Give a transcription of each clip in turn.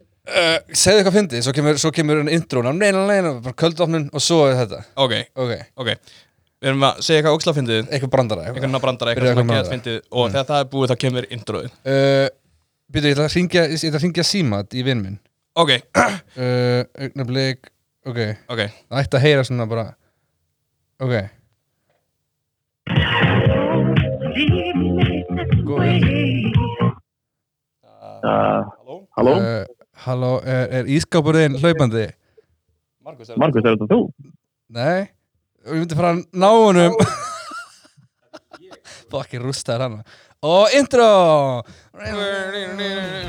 uh, segðu eitthvað fyndið, svo kemur, svo kemur intronan, neina, neina, bara köldofnun og svo er þetta, Ok, ok, ok Við erum að segja eitthvað ógslafyndið eitthvað brandara eitthvað. eitthvað nabrandara, Byrjaðu eitthvað sem að koma Mm. að geða með fyndið og þegar það er búið þá kemur introið Uh, Býtu, ég ætla að hringja, ég ætla að hringja símat í vinn minn ok, uh, Augnablik, ok ok, Það ætti að heyra svona bara Ok Uh, Halló, halló, uh, Halló, er, er ískápurinn hlaupandi? Markus er Markus, er þetta þú? Nei Og ég myndi fara að ná honum Fokki rústaður hana Og intro Eh,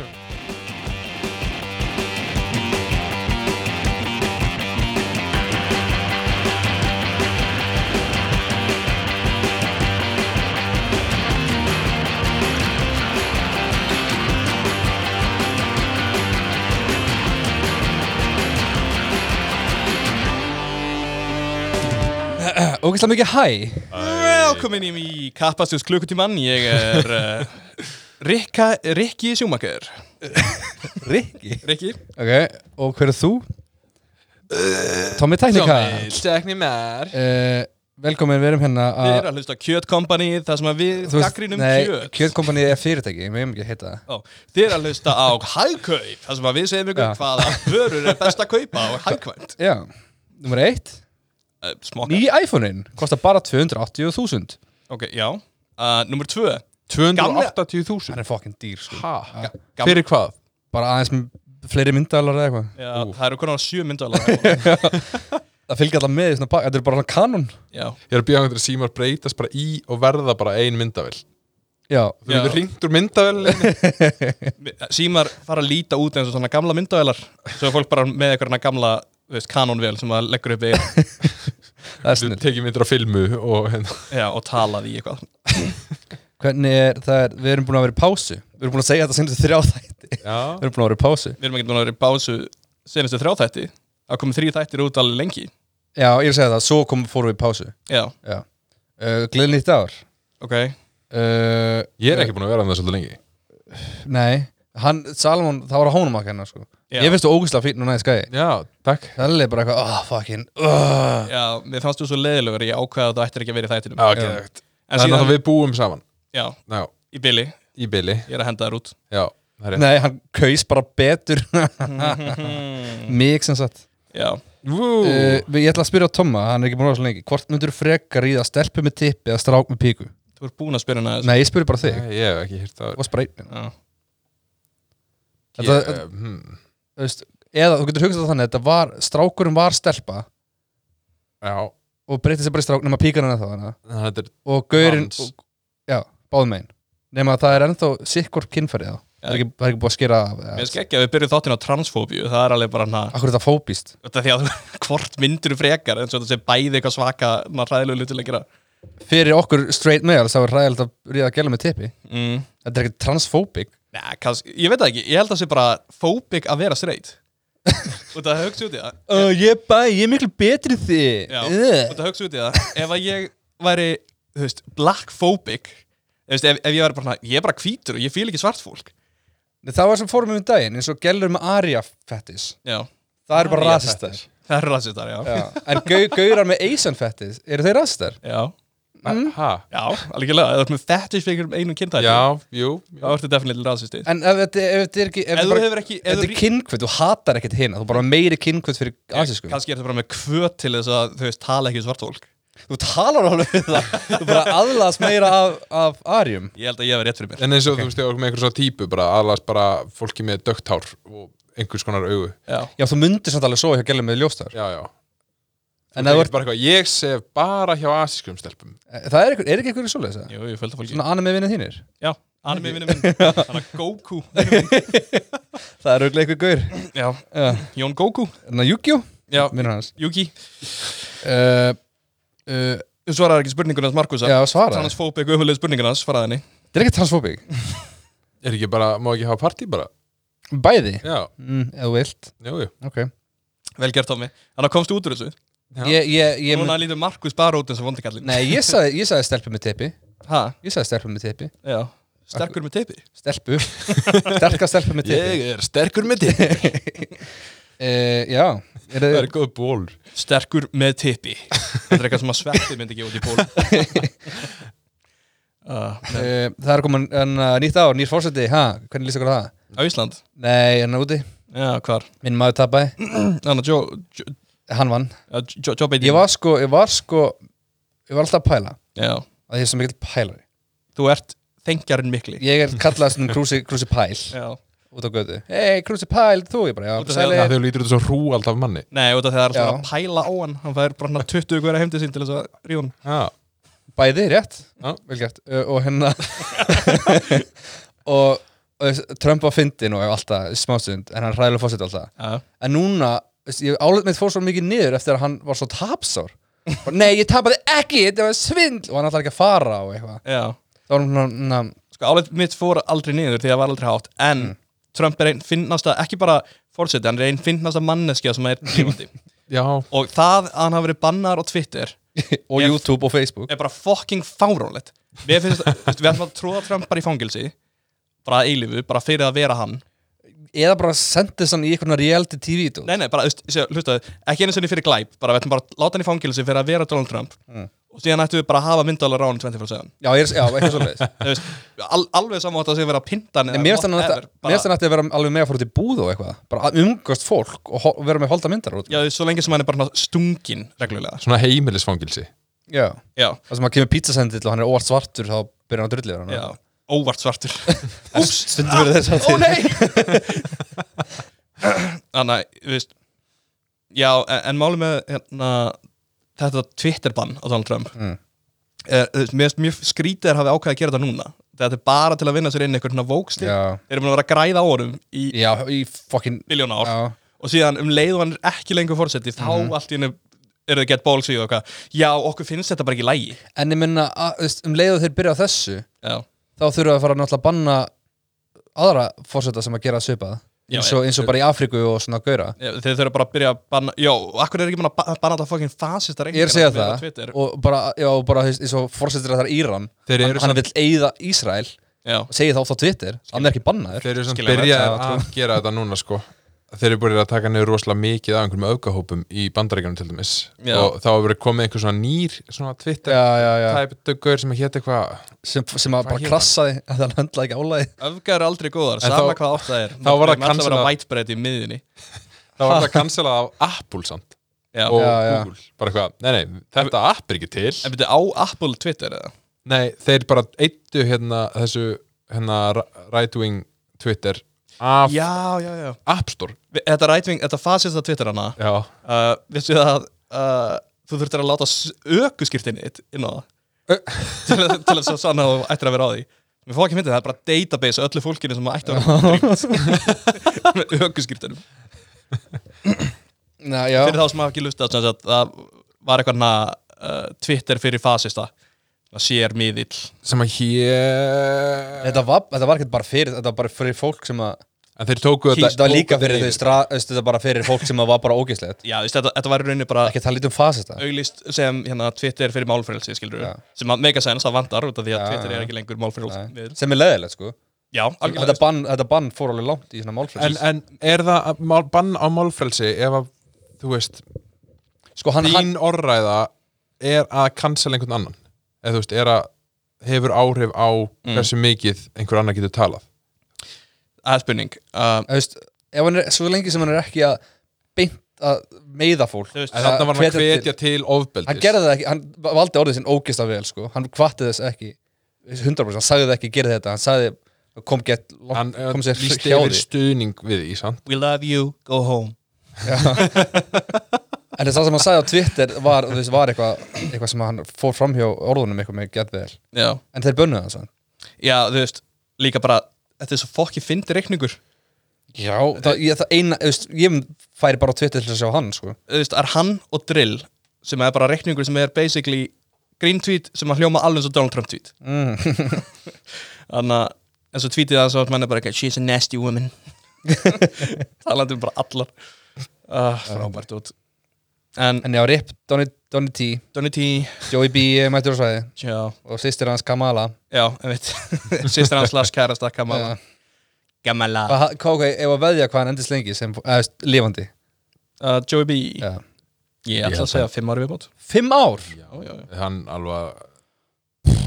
Ógæslega mikið hæ velkomin í kappastjós klukkutíman ég er uh, Rikka, Rikki Sjúmaker Rikki Rikki Ok, og hver er þú? Tommy Teknika uh, Stekni mér Velkomin, við erum hérna Þið að eru að hlusta á Kjöt Company þar sem að við Þú veist- gaggrínum Nei, kjöt, Kjötkompanið er fyrirtæki, við hefum ekki að heita það Ó, Þið eru að hlusta á Hægkaup þar sem að við segjum ykkur Já. hvaða vörur er best að kaupa á hægkvæmt Já, nummer eitt uh, Smoka, Ný iPhone-in kostar bara 280.000 ok, já uh, Númer tvö 280.000 Hann er fokkin dýr sko Ha? Gam- Fyrir hvað? Bara aðeins með fleiri myndalar eða eitthvað Já, það eru konar sjö myndalega Það fylgja alltaf með í svona pakka, þetta er bara svona kanon Já, Ég er að býja hann til að símar breytast bara í og verða bara ein myndavel Já, Þú Já. getur ringt úr myndavel símar fara að líta út eins og svona gamla myndavélar svo er fólk bara með eitthvað gamla þú veist, kanonvél sem það leggur upp við það er Þú snill tekið myndir á filmu og hérna já, og talað í eitthvað Hvernig er, það er, við erum búin að vera í pásu Við erum búin að segja þetta sinni þrjá þætti Við Já erum búin að vera í pásu við erum ekki búin að vera í básu senastu þrjá þætti það komið þrjú þættir út alveg lengi Já, ég er að segja það, svo kom, fórum við í pásu já, Já uh, Gleðin nýtt ár ok uh, Ég er ekki búin að vera hann það svolítið lengi Nei, hann, Salomon, það var að hónum að kenna sko Já. Ég finnst þú ógustlega fín núna í skæði Já, takk Það er bara eitthvað, oh, fucking uh. já, mér fannst þú svo leiðilegur ég ákvaða að þú ættir ekki að vera í þættinum Já, ekki þekkt en Þannig síðan, að við búum saman já, Já, í bili ég í byli er að henda þér út Já, það er rétt Nei, hann kaus bara betur Mig sem sagt já, Vú uh, Ég ætla að spyrja Tomma, hann er ekki búin að vera svo lengi Hvort myndur frekar í það stelpu með tippi eða strák með píku? þú ert búin að spyrja hana þessu Nei, ég spyrir bara þig Nei, Ég hef ekki hýrt það Og spreitnin já, hérna. Þetta- Ég, hmm, veist, Eða þú getur hugsað það þannig þetta var, Strákurinn var stelpa Já, og breytið sér bara í strák nema píkan hann þá hana þannig að þetta er Og gaurinn, Hans. og, já, báðum megin Nema að það er ennþá sikkur kynfærið þá Það er ekki, það er ekki búið að skera af mér finnst eða- ekki að við byrjum þáttin á transfóbíu það er alveg bara hana Akkur er þetta fóbist Þetta því að hvort myndur frekar eins og þetta sé bæði eitthvað svaka maður ræðilegu lutin að gera Fyrir okkur straight male þá er ræðilegt að ríða að gæla með tippi mm. Þetta er ekkert transfóbik Nei, kannski, ég veit það ekki, ég held að það sé bara fóbik að vera straight og það högst út í það uh, Ég er bæ, ég er miklu betri en þið Já, Ugh. og það högst út í það ef að ég væri, þú veist, black fóbik veist, ef, ef ég væri bara, svona, ég er bara hvítur og ég fíl ekki svart fólk Nei, Það var sem fórum um daginn, eins og gælur með Arya fettis Já, Það eru bara Arya rasistar fetish. það er rasistar, já Já. En gau, gaurar með Asian fettis, eru þeir rasistar? Já, Hæ? já, algjörlega, ef þú ert með fetish fyrir einhverjum einum kynntætti Já, jú þá ertu definitíli rasisti En ef þetta ef þetta er ekki Ef þetta þú bara- hefur ekki- ef Þetta þú er rík- kynkvöld, þú hatar ekkert hina Þú er bara meiri kynkvöld fyrir asísku Kannski er þetta bara með kvöt til þess að, þú veist, tala ekki við svart fólk Þú talar alveg við það Þú bara aðlaðast meira af, af arjum Ég held að ég hef rétt fyrir mér En eins og þú veist, ég var með einhver svona típu bara aðlast bara fólki með dögt hár og einhvers konar augu Já, Já, þú myndir samt alveg svo hjá gælum með ljóstar Já, já En það það, er var, bara eitthvað, ég sef bara hjá asískum stelpum það er, einhver, er ekki einhverju svoleiðis það? jú, ég fölta fólki Svona anime vinnið þínir Já, anime vinnu minn Þannig að Goku vinur minn. Það er auðvitað einhver gaur Já, Já. Jón Goku Þannig að Yukio, Já, vinnur hans Yuki uh, uh, Þú svarar ekki spurningunars Markusa Já, svara Transfóbik öfuleg spurningunars, svaraði henni Þetta er ekki transfóbik Er ekki bara, má ekki hafa partí bara? Bæði Já, mm, Ef þú vilt jú, jú okay. Vel gert Tommi Þannig að komstu út úr þessu Já. ég, ég, ég, Núna lítur Markus bara út eins og vondikallin Nei, ég sagði, ég sagði stelpu með tippi Ha, Ég sagði stelpu með tippi já sterkur með tippi stelpu sterka stelpu með tippi Ég er sterkur með tippi uh, já, er Það þið er góð ból sterkur með tippi þetta er eitthvað sem að sveppi myndi gefa út í ból uh, uh, það er komin en, uh, nýtt ár, nýr fórseti, ha, hvernig lýst ykkur á það? á Ísland Nei, hann er úti, já, hvar minn maður tappaði, Anna, Joe, Joe, hann vann uh, Joe, Joe Biden ég var sko, ég var sko ég var alltaf að pæla, já, að ég er svo mikill pælari þú ert þengjarinn mikli ég er kallað svona krúsi, krúsi pæl já. út á götu, hei krúsi pæl, þú ég bara, Út já, af sæli því Þegar þú lítur út svo hrú alltaf manni nei, út af þegar það er alltaf Já. að pæla á hann hann fær bara hann 20 hverja heimdi sín til þess að ríða hann Já, bæði rétt, Já. vel gert uh, og hérna og, og Trump var fyndin og alltaf smástund, en hann hræðilega fórseti alltaf já, en núna, veist, ég álut mitt fór svo mikið niður eftir að hann var svo tapsár Bara, nei, ég tapaði ekki, þetta var svindl og hann ætlar ekki að fara og eitthvað já. þá var hann svona, na, sko áleit mitt fór aldrei niður því það var aldrei hátt en Trump er einn finnasta ekki bara fórseti, hann er einn finnasta manneskja sem er lífandi já og það að hann hafi verið bannar á Twitter og Ég- YouTube og Facebook er bara fucking fáránlegt við finnst, þú veist, við ætlum að tróða Trump bara í fangilsi bara að eilifu, bara fyrir að vera hann eða bara sendið hann í einhvern reality TV -dót. nei, nei, bara, þú veist, sjá, hlustaðu, ekki einu sinni fyrir glæp bara við ætlum bara að láta hann í fangilsi fyrir að vera Donald Trump og síðan ættum við bara að hafa myndalega ráðin 24-7 já, ég er, já, eitthvað svo leiðis Þú veist, al, alveg saman átt að segja vera pintan mér finnst hann að mér finnst hann ætti að vera alveg með að fara út í búð og eitthvað bara að umgast fólk og ho- og vera með holda myndar út. já, svo lengi sem hann er bara svona stunginn reglulega sko. Svona heimilisfangilsi já, já, það sem að kemur pítsasendil og hann er óvart svartur þá byrjar hann að drullið já, óvart svartur úps, stundum verið þess að ó nei þannig, þú veist já, en, en máli með hérna, þetta Twitter-bann á Donald Trump Mm. er, þú veist, mér finnst mjög skrítið að hafa ákveðið að gera þetta núna þetta er bara til að vinna sér inn einhvern svona vókstil Já. þeir eru búin að vera að græða á honum í já, í fucking miljónu ár já, Mhm. og síðan um leið og hann er ekki lengur fórseti þá allt í hennu eru þau gett bóls í og eitthvað já, okkur finnst þetta bara ekki í lægi en ég minna, að, þú veist, um leiðu þeir byrja á þessu já, þá þurfa að fara náttúrulega að banna aðra fórseta sem að gera svipað Já, eins og, eins og bara í Afríku og svona gauðra Já, þeir þurfa bara að byrja að banna já, akkur er ekki búin að ba- banna þetta fucking fasista ég er að segja það Twitter. og bara, já, og bara þú veist, eins og fórsetir að það er Íran Þeir hann, eru hann samt- vil eigða Ísrael já, og segir það oft á Twitter hann er ekki bannaður Þeir eru samt Skilja, byrjaðir já, að gera þetta núna sko Þeir eru búin að taka niður rosalega mikið af einhverjum öfgahópum í bandaríkjunum til dæmis Já. og þá hefur verið komið einhver svona nýr svona Twitter já, já, já, type dögur sem hétt eitthvað sem, sem að bara hét krassaði að hann höndlaði ekki álæði öfgar eru aldrei góðar, En sama þá- hvað átt það er þá var það Þeim alltaf að vera cancellað. white bread í miðinni þá var það cancelað af Apple samt já. og Já, já. Google, bara eitthvað, nei nei, þetta app er ekki til en byrju á Apple Twitter eða Nei, þeir bara eittu hérna þessu hérna ra- right-wing Twitter af já, já, já App Store þetta rætving, þetta fasista Twitter hana Já, uh, vissu það uh, þú þurftir að láta aukuskirtinni þitt inn á það til, að- til að svo sanna að þú ættir að vera á því Mér fá ekki myndið, það er bara database af öllu fólkinu sem ætti að vera dríft. með aukuskirtinum Já, já, fyrir þá sem hafa ekki lustað sem sagt, það var eitthvað na, uh, Twitter fyrir fasista það sér miðill sem að hér þetta var, þetta var ekki bara fyrir þetta var bara fyrir fólk sem að En þeir tóku þetta þetta var líka tóku fyrir þau yfir. stra, þú veist, þetta var bara fyrir fólk sem að var bara ógæslegt Já, veist, þetta, þetta var í rauninni bara ekki það lítið um fasista auglýst sem hérna, Twitter fyrir málfrelsi skilur, Já. sem að mega sens það vantar út af því að Já, Twitter já. er ekki lengur málfrelsi Nei. miðill. sem er leðilegt sko Já, algjörlega þetta bann, þetta bann fór alveg langt í svona En, málfræðis en er það að mál, bann á málfrelsi ef að, þú veist, sko hann, hann þín orðræða er að cancel einhvern annan? Eða þú veist, er að hefur áhrif á Mm. hversu mikið einhver annar getur talað? Það er spurning uh, þú veist, ef hann er, svo lengi sem hann er ekki að beint að meiða fólk Þú veist, En þarna var hann að hvetja til ofbeldis. hann gerði það ekki, hann valdi orðið sinn ógæsla vel sko, hann kvatti þess ekki 100%, hann sagði það ekki, gerði þetta hann sagði, kom gett langt- Hann eh, kom sér lýsti hjá yfir því stuðning við því, sant? We love you, go home en það sem hann sagði á Twitter var, þú veist, var eitthvað eitthvað sem hann fór fram hjá orðunum eitthvað með gett vel, Já, en þeir bönnuðu það sann. já þú veist, líka bara þetta er svo fokki fyndi reikningur já, það, ég, það eina, þú veist, ég færi bara á Twitter til að sjá hann sko, Þú veist, er hann og drill sem er bara reikningur sem er basically green tweet sem að hljóma alveg eins og Donald Trump tweet mm. Þannig að eins og tweetið það svo að menn er bara eitthvað She's a nasty woman talandi um bara allar uh, frábært út en en já, Rip, Donald Donny T, Donny T, Joey B er mættur á svæði já, og sýstir hans Kamala já, en veit Sýstir hans slags kærasta, Kamala Já. Kamala Hvað- hvað- ok, ef að veðja hvað hann endist lengi sem eða, lifandi uh, Joey B, Já. ég ætla að segja fimm ári viðbót Fimm ár? já, já, já. Hann alveg,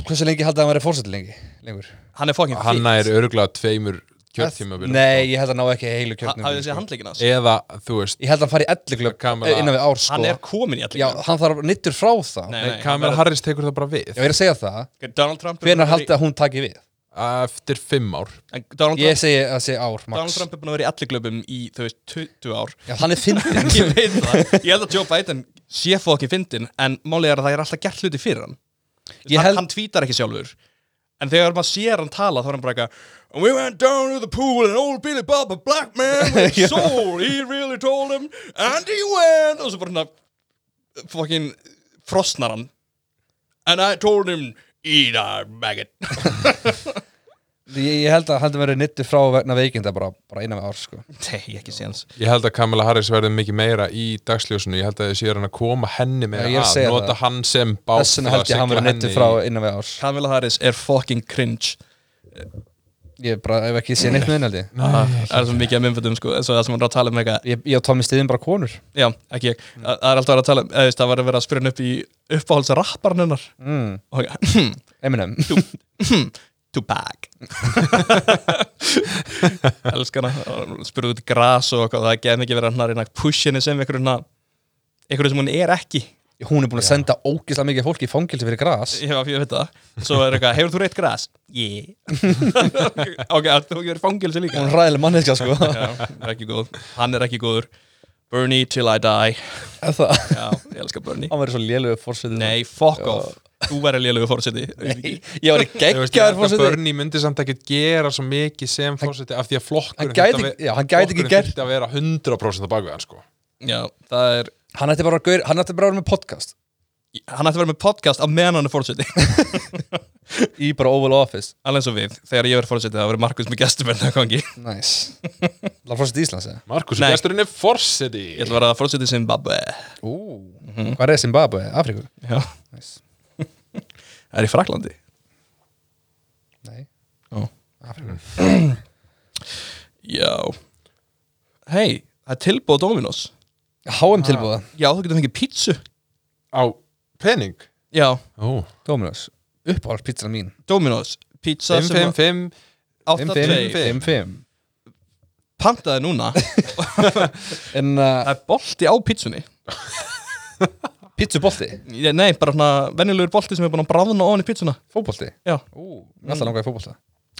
Hversu lengi haldið að hann verið fórsett lengi? lengur? Hann er fucking hann nær öruglega tveimur kjörtímabilum Nei, ég held að hann ná ekki heilu kjörnum Hafið þessi handleikin hans Eða, þú veist, Ég held að hann fari í ellu Kamala- innan við ár sko Hann er komin í Já, allir hann þarf nittur frá það Nei, Nei, nei, hann Kamala verður- Harris tekur það bara við Ég verið að segja það Donald Trump er búinn Hvenær að vera í- haldið að hún taki við? Eftir fimm ár en Donald Ég Trump, segi að það sé ár, Donald max Trump er búin að vera í allir glöfum í, þú veist, 20 ár Já, hann er fyndin Ég veit það, ég held að Joe Biden sé fokkin fyndin En málið er að það er alltaf gert hluti fyrir hann Ég held... held- Hann, hann tvítar ekki sjálfur En þegar maður sér hann tala þá er hann bara eitthvað And we went down to the pool and old Billy Bob a black man with a soul He really told him and he went Og svo bara hann fokkin frosnar hann And I told him Eat our maggot Ég ég held að hann verið nittur frá vegna veikinda bara, bara innan við ár sko Nei, ekki séns Ég held að Kamala Harris verði mikið meira í dagsljósinu Ég held að þessi er hann að koma henni meira Já, ég er að að segja Nota það. hann sem bát Þess vegna held ég að hann verið nittur frá innan við ár Kamala Harris er fokkin cringe Ég bara, ef ekki sé neitt með henni held ég Ah, Það er svo mikið að minnfættum sko Svo það sem hann er að tala um eitthvað Ég, ég og Tommy stiðin bara konur Já, ekki ég. Mm. Þa- Það er alltaf að vera að tala um, eða, þú veist, það var að vera að spyrja hann upp í uppáhalds rapparinn hennar. mm, Og ég, Eminem Tupac. Elskana. Spyrðu út gras og eitthvað, það geði mikið verið hann að reyna að push henni sem einhverjum svona, einhverjum sem hún er ekki. Hún er búin að senda ógislega mikið fólki í fangilsi fyrir gras Ég hef að veit það. Svo er eitthvað, hefur þú reitt gras? Yeah. ok, þú hefur verið fangilsi líka. Hún er ræðileg manneskja sko Já, er ekki góð. Hann er ekki góður. Bernie till I die. Er Það Já, ég elska Bernie. Hann verið svo lélögu fórsveitur Nei, fuck off. Þú verður lélugu fórseti. Nei, ég var ekki geggjaður Gæður fórseti Bernie myndi samt ekki gera svo mikið sem fórseti Af því að flokkur Hann gæti- já, hann gæti ekki gert- að vera 100% á baku hann sko Já, það er Hann ætti bara að gaur- hann ætti bara að vera með podcast Hann ætti að vera með podcast á meðan hann er fórseti Í bara Oval Office Alveg eins og við, þegar ég verið fórseti Það verið Markus með gestur með það gangi Ég Nice Það fórseti Íslands eða? Markus, Nei. gesturinn er fórseti ætla að vera fórseti sem babbe Ú, hvað er Zimbabwe? Afríku? Já, Nice. það er í Fraklandi Nei, Já, Afríku Já. Hei, það er tilbúið á Dominos HM tilbúða, Já, þú getur fengið pítsu Á pening Já, Ó, Dominos Uppáhalds pítsan mín Dominos Pítsa 5, 5, sem 5 8-2 fimm. 5-5 Pantaði núna Það En uh, er bolti á pítsunni pítsubolti, Ég- Nei, bara svona venjulegur bolti sem er búin að bráðna ofan í pítsuna fótbolti Já, Ú, mér alltaf langaði í fótbolta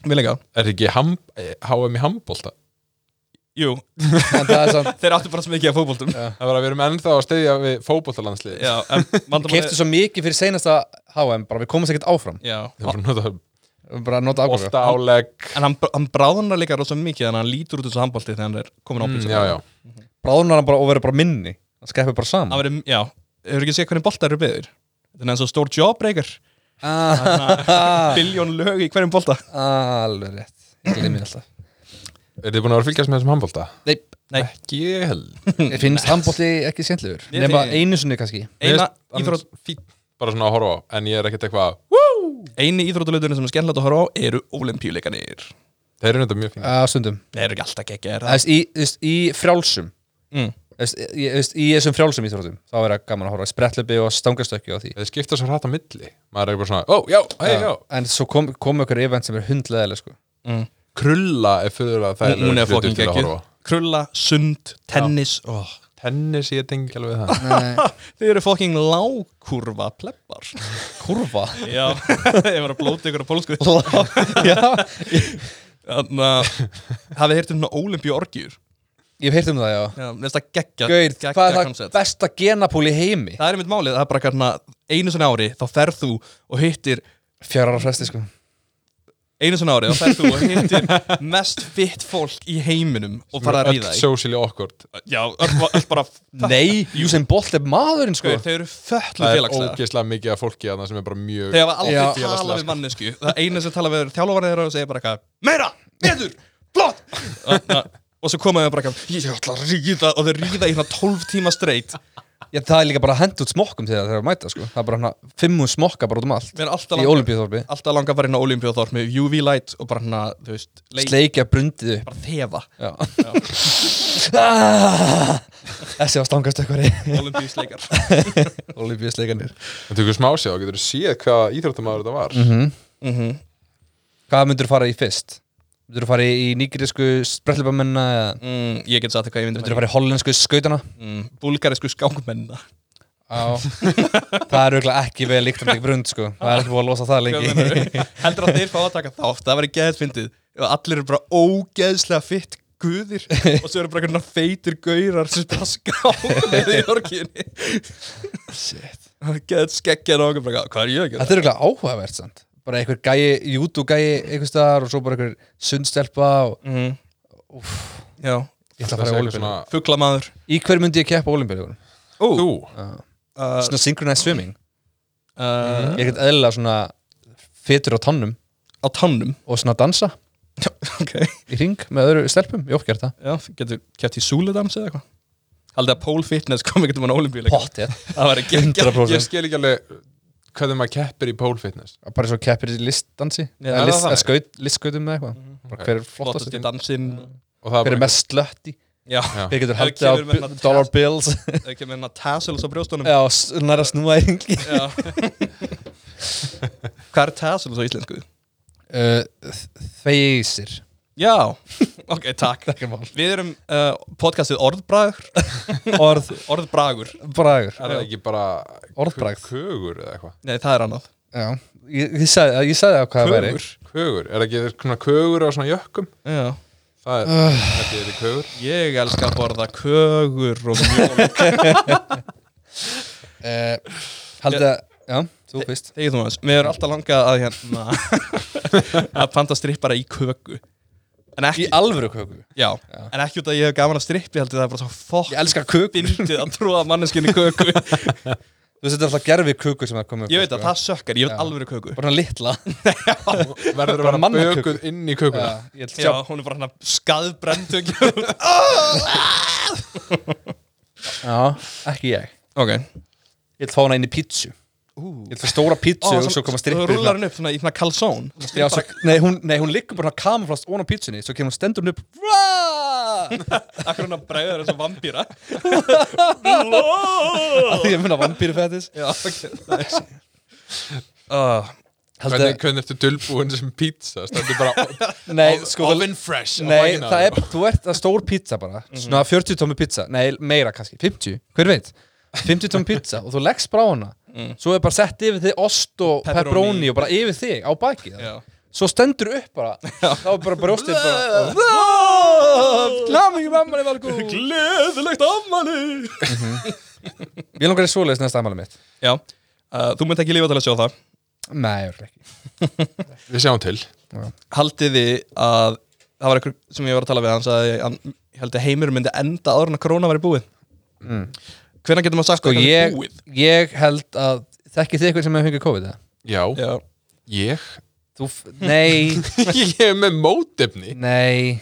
vil ekki Er ekki ham- eh, HM í handbólta? Jú, En það er samt þeir áttu bara svo mikið af fótboltum Það var að við erum ennþá að steyðja við fótbóltalandslið Já, en vandamálið- Keftu svo mikið fyrir seinasta HM bara við komum sér ekkert áfram Já, Það var að nota Við bara að nota ákvöru bolta álegg en hann, hann bráðanar líka rosa mikið þannig að hann lítur út þessu handbólti þegar hann er komin á Mm, pítsu Já, já Bráðunar hann bara og verður bara minni Það skeppur bara Hann saman verið, já, hefur ekki séð hvernig boltar eru beðir Þetta er eins og stór jawbreaker Ah, Biljón lög í hverjum bolta Alveg rétt Ég glemir alltaf Er þið búin að vera að fylgjast með þessum handbólta? Nei, Nei. Ekki ég held ég finnst handbólti ekki skemmtlegur Mér Nefna finnst- einu sinni kannski Eina íþrótt, Annars fínt bara svona að horfa á En ég er ekkert eitthvað Eini íþrótulauturinn sem er skemmtilegt að horfa á eru olimpíuleikanir Þeir eru þetta mjög fín Á stundum Það eru ekki alltaf ekki er Það það veist, í, þú veist, í frjálsum Mm. Þú veist, í, þú veist, í þessum frjálsum íþróttum þá er það gaman að horfa á sprettlöpi og stangastökki og því Þeir skipta svo hrætt á milli Maður er ekki bara svona Ó, já, hei, já en svo kom, kom okkur event sem er hundleðileg sko. mm. Krulla er fyrir að það Hún er fokkin geggjuð Krulla, sund, tennis oh. Tennis ég tengi alveg við það Þið eru fokkin lágkurva plebbar kurva Já, ég var að blóta ykkur á pólsku Já, Þannig að hafið heyrt um svona olimpíuorgjur ég hef heyrt um það já Já, mér finnst það geggja Gauð, geggja hvað er það concept. besta genapúl í heimi? Það er einmitt málið, það er bara hérna einu svona ári þá ferð þú og hittir Fjara á fresti sko einu svona ári þá ferð þú og hittir mest fitt fólk í heiminum og farað að Öll ríða í socially awkward Já, öll, öll bara Nei, Usain Bolt er maðurinn sko Gauð, þau eru föllu Það er félagslega ógeðslega mikið af fólki þarna sem er bara mjög Þau hafa aldrei Já. talað Félagslega, við sko. mannesku Það eina sem talað við þjálfarið þeirra og segja bara eitthvað Meira, betur, blott Þarna- Og svo komaðu bara eitthvað Ég ætla að ríða og þau ríða í hérna 12 tíma streitt ég, það er líka bara að henda út smokkum þegar þeir eru að mæta sko. það er bara hann fimmu smokka bara út um allt Mér er alltaf í langa, olimpíuþorfi alltaf langa að fara inn á olimpíuþorf með UV light og bara hann að, þú veist, leik, sleikja brundið upp bara þefa Já. Ah, þessi var stangast eitthvað olimpíusleikar. olimpíusleikanir Það tökur smá séð og getur séð hvað íþróttamæður þetta Mhm. var mm -hmm. hvað myndur fara í fyrst? myndur fara í nýgirísku spretlubamennina eða mm, ég get sagt eitthvað, ég myndi myndur fara í hollensku skautana mm, búlgarisku skákmennina. það er auðvitað ekki vel líkt um þig brund sko. það er ekki búið að losa það lengi Heldur að þeir fá að taka þátt, það væri geðfyndið. Ef Allir eru bara ógeðslega fitt guðir og svo eru bara einhverjum feitir gaurar sem bara skákum með í orginni. Shit. Geðt skeggja nokkuð, bara hvað er ég að gera? þetta er auðvitað áhugavert sant? bara einhver gæi, YouTube gæi einhver staðar og svo bara einhver sundstelpa og Mm. Já, ég ætla að Það fara í segir olimpíu svona fuglamaður. í hverju myndi ég keppa olimpíu? Þú, Uh, svona synchronized swimming uh, ég er ekkert eðlilega svona fetur á tannum á tannum og svona dansa ok, í ring með öðru stelpum, ég ofgjart það já, getur kæft í súludans eða eitthvað haldið að pole fitness kom ekkert um hann ólimpíuleika hot, ég það væri geggjað. 100% ég skil ekki alveg hvernig maður keppir í pole fitness bara svo keppir í listdansi eða Já, það Mhm. list, var eða þannig. skaut, listskautum eða eitthvað bara hver er flottast flottast í dansinn og það er hver er bara mest slött í já, Já. hver getur Ef haldið á kemur með bu- svona dollar tas- bills það kemur hann að tassels á brjóstunum já, s- nær að snúa í ringi Já. hvað er tassels á íslensku? Eh, þeysir já, ok, takk við erum uh, podcastið Orðbragur orð, Orðbragur, bragur er það ekki bara Orðbragð. kögur eða eitthvað nei það er annað já, ég, ég sagði það- ég sagði það hvað það væri Kögur? kögur, er það ekki svona kögur á svona jökkum já það Ah. er, þetta er kögur Ég elska að borða kögur og mjólk. uh, haldið að, já, þú fyrst Þegar þú maður, mér er alltaf langað að hérna að panta strippara í köku. En ekki, í alvöru köku Já, en ekki út að ég hef gaman að strippi heldur það er bara svo fokk ég elska kökur bindið að trúa manneskinni köku Ég þú veist þetta er alltaf gerfi köku sem það komið veit að það sökkar, ég vil alveg köku sko. bara svona litla verður Bara að vera mannakökur. bökuð inn í kökuna Já, ég ætla að Já, sjá hún er bara hérna hann að skaðbrendu og gefur út. Já, ekki ég Ok Ég ætla að fá hana inn í pítsu Ég ætla að stóra pítsu og svo koma strippur Rúlar hann upp svona í svona kalsón svona- Já, svo, nei, hún, nei, hún liggur bara kamaflast ón á pítsunni Svo kemur hún stendur hún upp Vá! Akkur hann að bregða þessu vampýra Af Því ég mun að vampýri fættis Já, ok það er svo- Ah, hvernig, hvernig ertu dulbúin sem pizza stendur bara Nei, sko það- oven fresh á Nei, bakinu á það þér. er, þú ert að stór pizza bara Mhm. Svona 40 tómi pizza, nei, meira kannski 50, hver veit 50 tómi pizza og þú leggst brá hana Svo er bara sett yfir þig ost og Mm. Pepperoni. pepperoni Og bara yfir þig á bakið Já. Svo stendur upp bara Þá er bara brjóstið bara Klammingi mamma er valgú Gleðilegt afmæli Ég langar í svoleiðis næsta afmæli mitt Já, uh, þú mynd ekki lífa til að sjá það Nei, örugglega ekki við sjáum til haldið þið að það var einhver sem ég var að tala við hann sagði að ég held að heimur myndi enda áður en að korona væri búið mm. hvernig getur maður sagt Sko, að þetta er ég, ég held að Þekki þið eitthvað sem hefur fengið COVID eða? já, búið ég Þú, f- nei, ég er með mótefni nei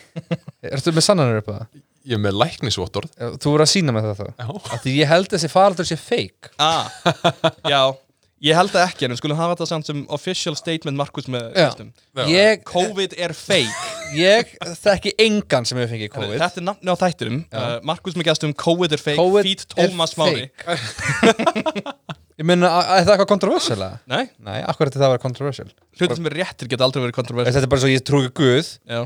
Ertu með sannanur upp að það? ég er með læknisvottorð Þú voru að sína með það þá Já. Af Því ég held þessi faraldur sé fake já, ah, já ég held það ekki en við skulum hafa þetta samt sem official statement Markus með Já. listum. Ég, COVID er fake ég þekki engan sem hefur fengið COVID þetta er nafni á þættinum uh, Markus með gestum COVID er fake COVID feed er Thomas Máni fake. Ég meina, að- er það eitthvað kontroversial eða? nei, Nei, akkur er þetta að vera kontroversial hlutin sem er réttir geta aldrei verið kontroversið Þetta er bara svo ég trúi Guð já,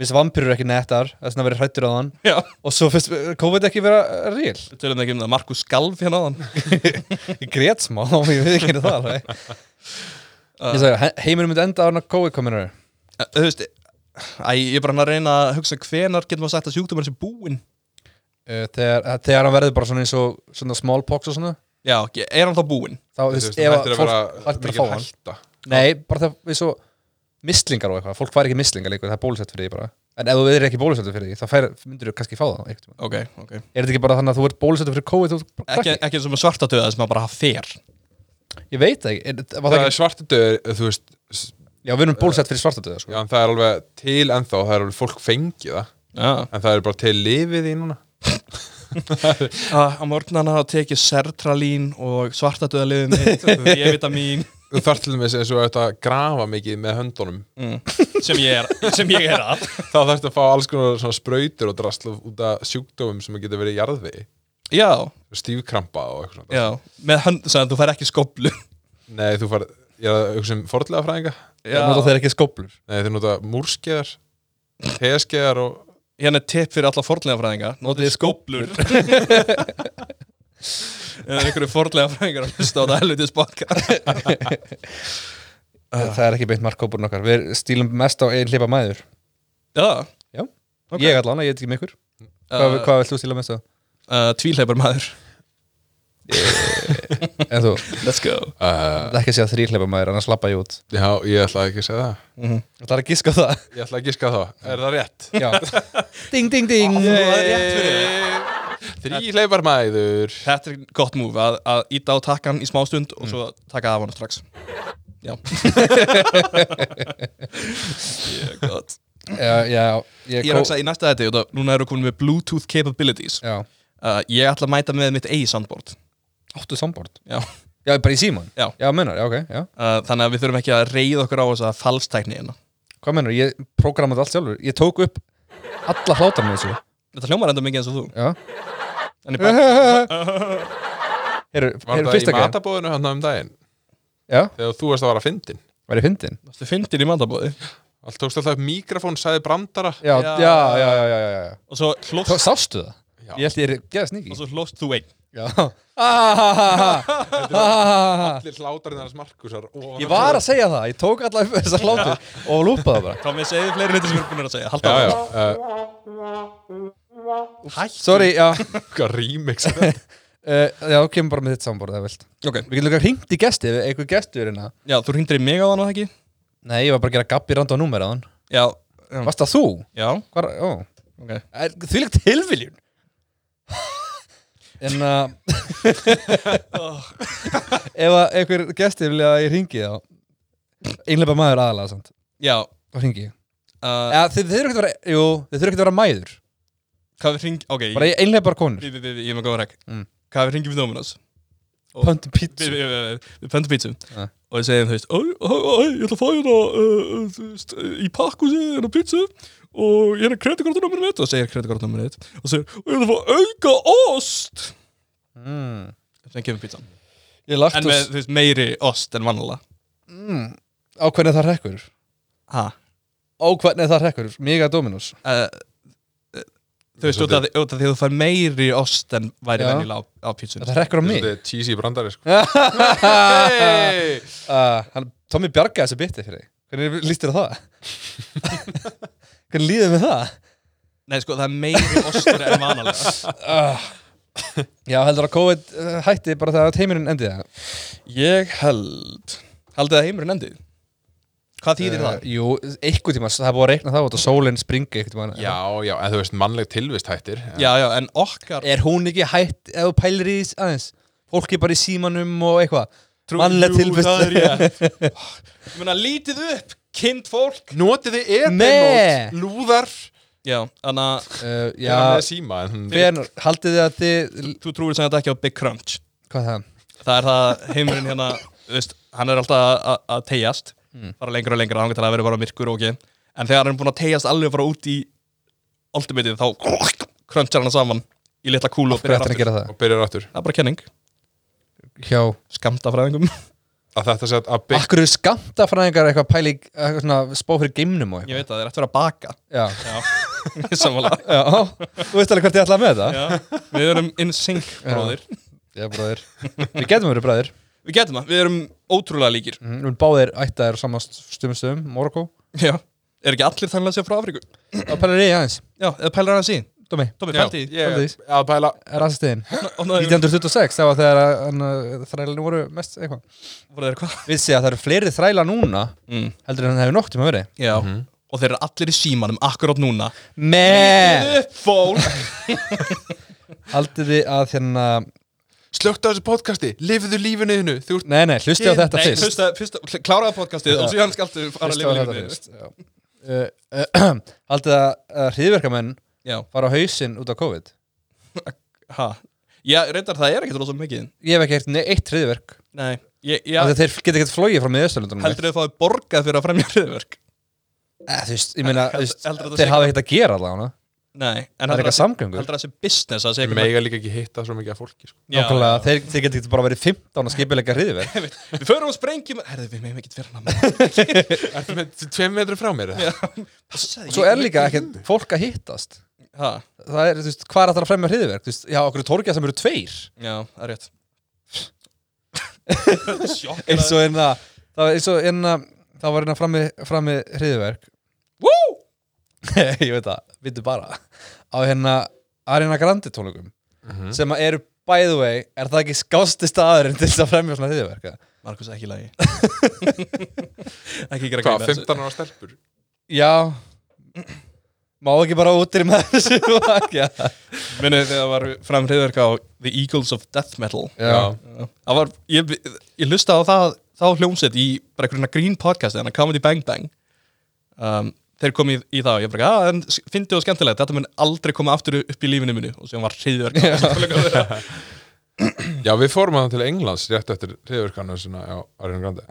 Mér finnst vampirur ekki nettar Það er svona að vera hrættur á þann já, Og svo finnst COVID ekki vera uh, real við tölum ekki um það Markus skalf hérna á þann Ég grét smá, ég veit ekki henni það alveg Uh. Ég sagði, he- heimurinn myndi enda á hana COVID kominur Eh, Þú veist, æ, ég er bara hann að reyna að hugsa hvenar getur maður sagt að sjúkdómar sé búinn uh, þegar, eh, þegar hann verður bara svona eins og svona smallpox og svona Já, ge- er hann þá búinn? Þá, þú veist, ef að fólk hættir að fá hann Nei, bara það er svo mislingar og eitthvað Fólk fær ekki mislingar líka, það er bólusett fyrir því bara En ef þú er ekki bólusettur fyrir því, þá fær, myndir þú kannski fá það einhvern tímann. Ok, ok Er þetta ekki bara þannig að þú ert bólusettur fyrir COVID og þú ert bara Ekki, krakki? ekki eins og með svartadauða sem maður bara fer Ég veit það ekki, er, var það það er ekki svartidöður, þú veist s- Já, við erum bólusett fyrir svartadöða sko. Já, en það er alveg til ennþá, það er alveg fólk fengið það Já, En það er bara til lifið í núna Að á morgnana þá tek ég sertralín og svartadöðaliðum mitt og vitamín Þú þarf til dæmis eins og auðvitað að grafa mikið með höndunum sem ég er, sem ég er að. þá þarfst að fá alls konar svona sprautur og drasl út af sjúkdómum sem getur verið í jarðvegi Já, stífkrampa og eitthvað svona já, með hönd, sem þú fær ekki skoblu. Nei, þú far, ég er eitthvað sem forðlega fræðinga Já. Nota þeir ekki skóplur Nei, þeir nota múrskeiðar teskeiðar og Hérna er tipp fyrir alla fornlegafræðinga, notiði skóplur. Eða einhverju fornlegafræðingar að hlusta á þetta helvitið spakka. Það er ekki beint markkópurinn okkar Við stílum mest á einn hlipa mæður Já, Ok. Ég allan, ég veit ekki með ykkur Hvað, Eh, hvað vilt þú stíla mest á? uh, tvíleipar maður. En þú, Let's go. uh, það er ekki að segja þrý hlipa mæður annars slappa ég út Já, ég ætla ekki að segja það Það er að gíska á það Ég ætla ekki að giska það, er það rétt? Já. Ding, ding, ding Þrý leifarmæður Þetta er gott múf að, að íta á takkan í smástund og svo taka af hana strax. Já. yeah, gott. Já, já, ég, Ég er að í næsta þetta, þetta, núna eru komin með Bluetooth capabilities. Já, Uh, ég ætla að mæta með mitt eigi soundboard. áttu sambort Já. Já, bara í síman Já. já menar, já, ok, já Uh, þannig að við þurfum ekki að reyða okkur á þessa falstækni hérna. Hvað menar, ég prógramaði allt sjálfur Ég tók upp alla hlátar með þessu Þetta hljómar enda mikið eins og þú. Já En ég bara, Heru, Var heru, það fyrsta í gæm matabóðinu hann um daginn? Já, Þegar þú varst að vara að fyndin væri fyndin þú fyndir í mandabóði. Allt tókst alltaf upp mikrofón, sagði brandara já, Já. já, já, já, já, já, já. Og svo Þá hlóst, sástu það? Já. Ég held ég er geða sníki og svo hlóst þú einn. Já Ahahaha. Ahahaha. Allir hlátarinn hans Markusar Ég var að segja það, ég tók alla upp þessar hlátur og lúpaði það bara Þá með segðu fleiri hluti sem við erum búin að segja. Halda Já, á já, það. uh, Hætt. Sorry, já, hvað remix er þetta? uh, já, þú kemur bara með þitt samborð eða vilt Ok. Við getum líka hringt í gesti, ef eitthvað gestur er hérna Já, þú hringdir í mig á þann og ekki? Nei, ég var bara að gera gabbi randa á númer á hann Já. Já. Varst það þú? Já. Hvar, ó, Ok. er, því líka tilviljun En að Ef að einhver gesti vilja að ég hringi þá Einlega maður aðalega samt Já. Þá hringi ég Uh, ja, Þið þurfum ekki að vera, jú, þið þurfum ekki að vera mæður hvað við hringjum... Ok, Bara einlega bara konur við, við, við, ég er með góða rekk. Mm. Hvað við hringjum við Dominos? Pöntum Við, pítsu við, við, við, við pöntum pítsu. Ja. Og við segjum, þú veist, æ, æ, æ, ég ætla að fá hérna, uh, uh, þú veist, uh, í pakkhúsið hérna pítsu og hérna kreditkortnúmerið mitt og segir kreditkortnúmerið mitt og segir, og ég ætla að fá auka ost. mm. Þannig kemur pítsan. Ég lagt En með, þú veist, meiri ost en vanlega. á hvernig það rekkur Ha? Á hvernig það rekkur, mega Dominos Uh, uh, þú veist, út af því- út af því að þú fær meiri ost en væri Já. venjulega á, á pítsun. Það rekkur á mig Þetta er cheesy brandari sko hey! uh, hann, Tommy bjargaði þessu biti fyrir þig Hvernig líst þér á það? Hvernig líður með það? Nei, sko, það er meiri ostur en vanalega. Já, heldur að COVID uh, hætti bara þegar að heimurinn endi það Ég held Haldið að heimurinn endið? Hvað þýðir Eh, það? Jú, einhvern tíma, það er búið að reikna það út og sólinn springi einhvern tíma Já, já, en þú veist, mannleg tilvist hættir Já, já, en okkar Er hún ekki hætt ef þú pælir í því aðeins? Fólk er bara í símanum og eitthvað Mannlega tilvist það er ég Ég meina, lítið upp, kind fólk Notiði Nei. ebenót, lúðar Já, þannig að Uh, Já, með Eh. já, síma en hún- hver, haldið þið að þið þú trúir sem þetta ekki á Big Crunch Hvað er það? Það er það að heimurinn hérna þú veist, Hann er alltaf að- að- að tegjast Mm. Fara lengra og lengra, þannig að það verið bara myrkur og ekki En þegar hann er búin að tegjast alveg að fara út í Ultimateið, þá Crunchar hann saman í litla kúlu og Hvað er það að byrjar aftur gera það? og byrjar aftur Það er bara kenning, Hjá skamtafræðingum að þetta sé að bygg Akkur eru skamtafræðingar eitthvað pæli eitthvað svona spá fyrir geimnum og Ég veit að það er eftir að baka eitthvað Já Já, samanlega Já, þú veist alveg hvert ég ætlaði með þetta Já, við erum in sync, bróðir Já, bræðir Við getum verið bræðir Við getum það, við erum ótrúlega líkir mm, Við erum báðir ættaðir á sama stumum stöðum, Morocco Já, er ekki allir þannig að segja frá Afríku Það pælar ég aðeins, Já, eða pælar hann að sín Dómi Tómi, Já, fælti ég Fældu því. er að pæla Er aðstöðin Voru 1926, það var þegar að, hann, uh, þrælarnir voru mest eitthvað þeir hvað? Við sé að það eru fleiri þræla núna Mm. heldur en það hefur noktum að verið Já, og þeir eru allir í símanum akkurát núna Með Fól Haldið þið að hérna Slögt á þessu podcasti, lifiðu lífinu þínu Þú ert Nei, nei, hlustið á þetta Nei, fyrst fyrsta, fyrsta, kláraða podcastið og síðan skaltu fara að Hlustið á lifa þetta lífið fyrst já. Uh, uh, Haldið að hriðverkamenn Já, fara á hausinn út af COVID ha. Já, reyndar það er ekkert rosa mikið Ég hef ekki heyrt ne- eitt hriðverk Nei, ég, já, Þegar þeir geta ekkert flogið frá miðausturlundunum heldur þau að fáið borgað fyrir að fremja hriðverk Eh, Þú veist, ég meina, Held- þú veist, heldur þetta sé þeir hafa ekkert að gera allavega Nei, Það en er heldur eitthvað samgöngur að það sé business að segja Þeir mega líka ekki hitta svo mikið af fólki sko. Já, Nákvæmlega, þeir, þeir geta ekkert bara verið 15 að skipilega hriðverk Við förum og sprengjum Herðu, við meðum ekkert vera hann Ertu með tveim metri frá mér? eða? Passaði, Svo er líka ekkert fólk að hittast Ha, Það er, þú veist, hvað er að það að fremja hriðverk? Þú veist, já, okkur torgja sem eru tveir já, það er rétt eins Sjokkar og einna það var eins og einna það var einna frammi, frammi hriðverk Woo! ég veit það, vittu bara á hérna Arina Grandi tónleikum Mhm. sem að eru by the way er það ekki skásti staðurinn til þess að fremja svona hriðverk eða? Markus, ekki í lagi Ekki gera grín Hvað, að þessu. 15 ára stelpur? já má ekki bara útir með þessu já. Munið þegar það var fram hriðverk á The Eagles of Death Metal Já. Það var, ég, ég hlustaði á það þá hljómsett í bara einhverjuna grín podcast þannig að Comedy Bang Bang um, þeir komu í, í það og ég bara, að ah, en s- fyndið og skemmtilegt, þetta mun aldrei koma aftur upp í lífinu minu og sem var hriðverk á þessum tónleikum þeirra. Já, við fórum að til Englands rétt eftir hriðverkanu sinna á Arjun Grandi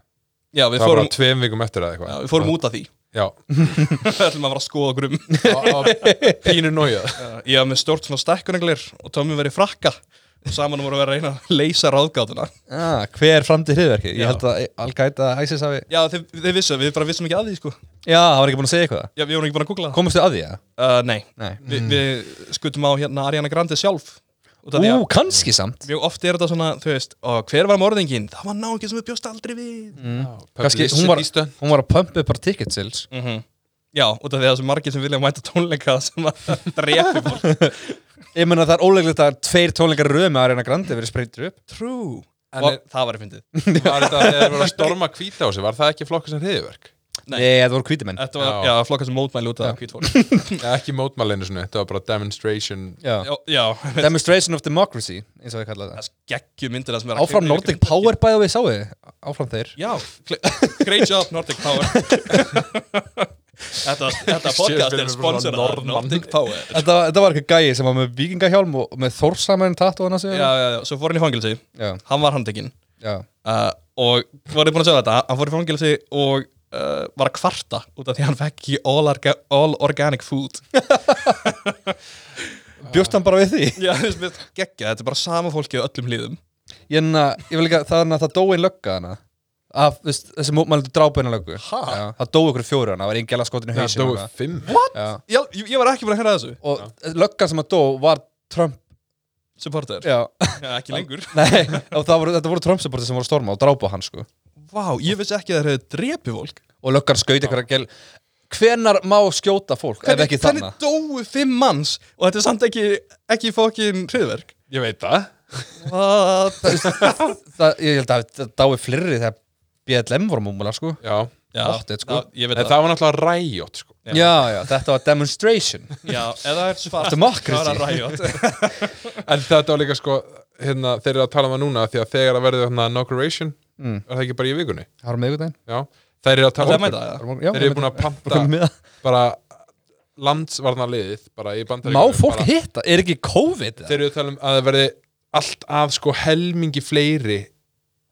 Já, við Það var fórum, bara tveim vikum eftir eða já, eitthvað við fórum út af því Já, Það ætlum að fara að skoða grum það var pínu nójað Ég var með stort svona stekkunenglir og Tommy var í frakka og saman voru að vera að reyna að leysa ráðgátuna Ah, hver framdi hriðverki ég Já. held að Al-Qaida ISIS hafi Já, þeir, þeir vissum, við bara vissum ekki að því sko já, það var ekki búin að segja eitthvað Já, við vorum ekki búin að googla það komist þið að því að? uh, Nei, Nei. Vi, við skutum á hérna Ariana Grande sjálf út af því að ú, kannski samt mjög oft er þetta svona, þú veist, og hver var morðingin? Það var náðingin sem við bjóst aldrei við mm. kannski, hún var, hún var að pumpa upp bara ticket sales Mhm. Já, út af því að þessu margir sem vilja mæta tónleika sem að drefi fólk Ég meina það er óleglegt að tveir tónleikar í röð með Ariana Grande verið spreytur upp True En og, er- Það var ég fyndið Var þetta þegar það var að storma hvíta á sig Var það ekki flokka sem hriðverk? Nei. Nei, það voru kvítimenn Þetta var, já, Já. já flokkað sem mótmæli út af hvít fólk Ja, ekki mótmælinu sinni, þetta var bara demonstration Já. Já, já Demonstration of Democracy, eins og ég kallaði það það geggjum myndina sem er að Áfram kvikna í Nordic kringum- Power by the way, sáu þið Áfram þeir Já, kle- great job Nordic Power Þetta, þetta podcast Shit, við er erum sponsorað af svona Norðmann. Nordic Power Þetta, þetta var eitthvað gæi sem var með vikingahjálm og með Þórsamæn tatt og hann að Já, segja já, já, svo fór hann í fangilsi já, Hann var handekinn já. uh, og var ég búin að segja þetta hann fór í fangelsi og uh, var að kvarta út af því að hann fekk ekki all, orga, all organic food Bjóst hann bara við því já, þú veist, mér geggja, þetta er bara sama fólki á öllum hlýðum Ég, na, ég vil ekki að það, na, það dói einn lögga hana Af, veist, þessi mótmældu drápa einn löggu Ha? já, Það dói ykkur fjóru hana, það var einn gæla skotin í Það hausinu dói fimm og, já, ég, ég var ekki búin að hérna þessu og löggan sem að dó var Trump supporter, Já, já, ekki lengur nei, og það voru, þetta voru Trump supportið sem voru að storma og drápa hann sko vá, ég vissi ekki að það hefði drepið fólk og löggan skaut eitthvað gel hvenar má skjóta fólk ef ekki þannig hvernig dóu fimm manns og þetta er samt ekki, ekki fókin hriðverk Ég veit það What? það, ég held að það dái flirri þegar BLM voru múmulega sko Já, já, Gott, þetta sko. já, ég veit en það það var náttúrulega ræjót sko. já. já, þetta var demonstration já, eða er svart Democracy. það er að ræjot En þetta var líka sko, hérna, þeir eru að tala um það núna Því að þegar það verður hérna inauguration Mm. Er það ekki bara í vikunni? það var miðgudaginn Já, þeir eru að það tala um er mæta, já. já, Þeir eru búin að panta að bara landsvarnarliðið bara í bandaríkjum má fólk hitta, er ekki COVID Þeir eru að tala um að það verði allt að sko helmingi fleiri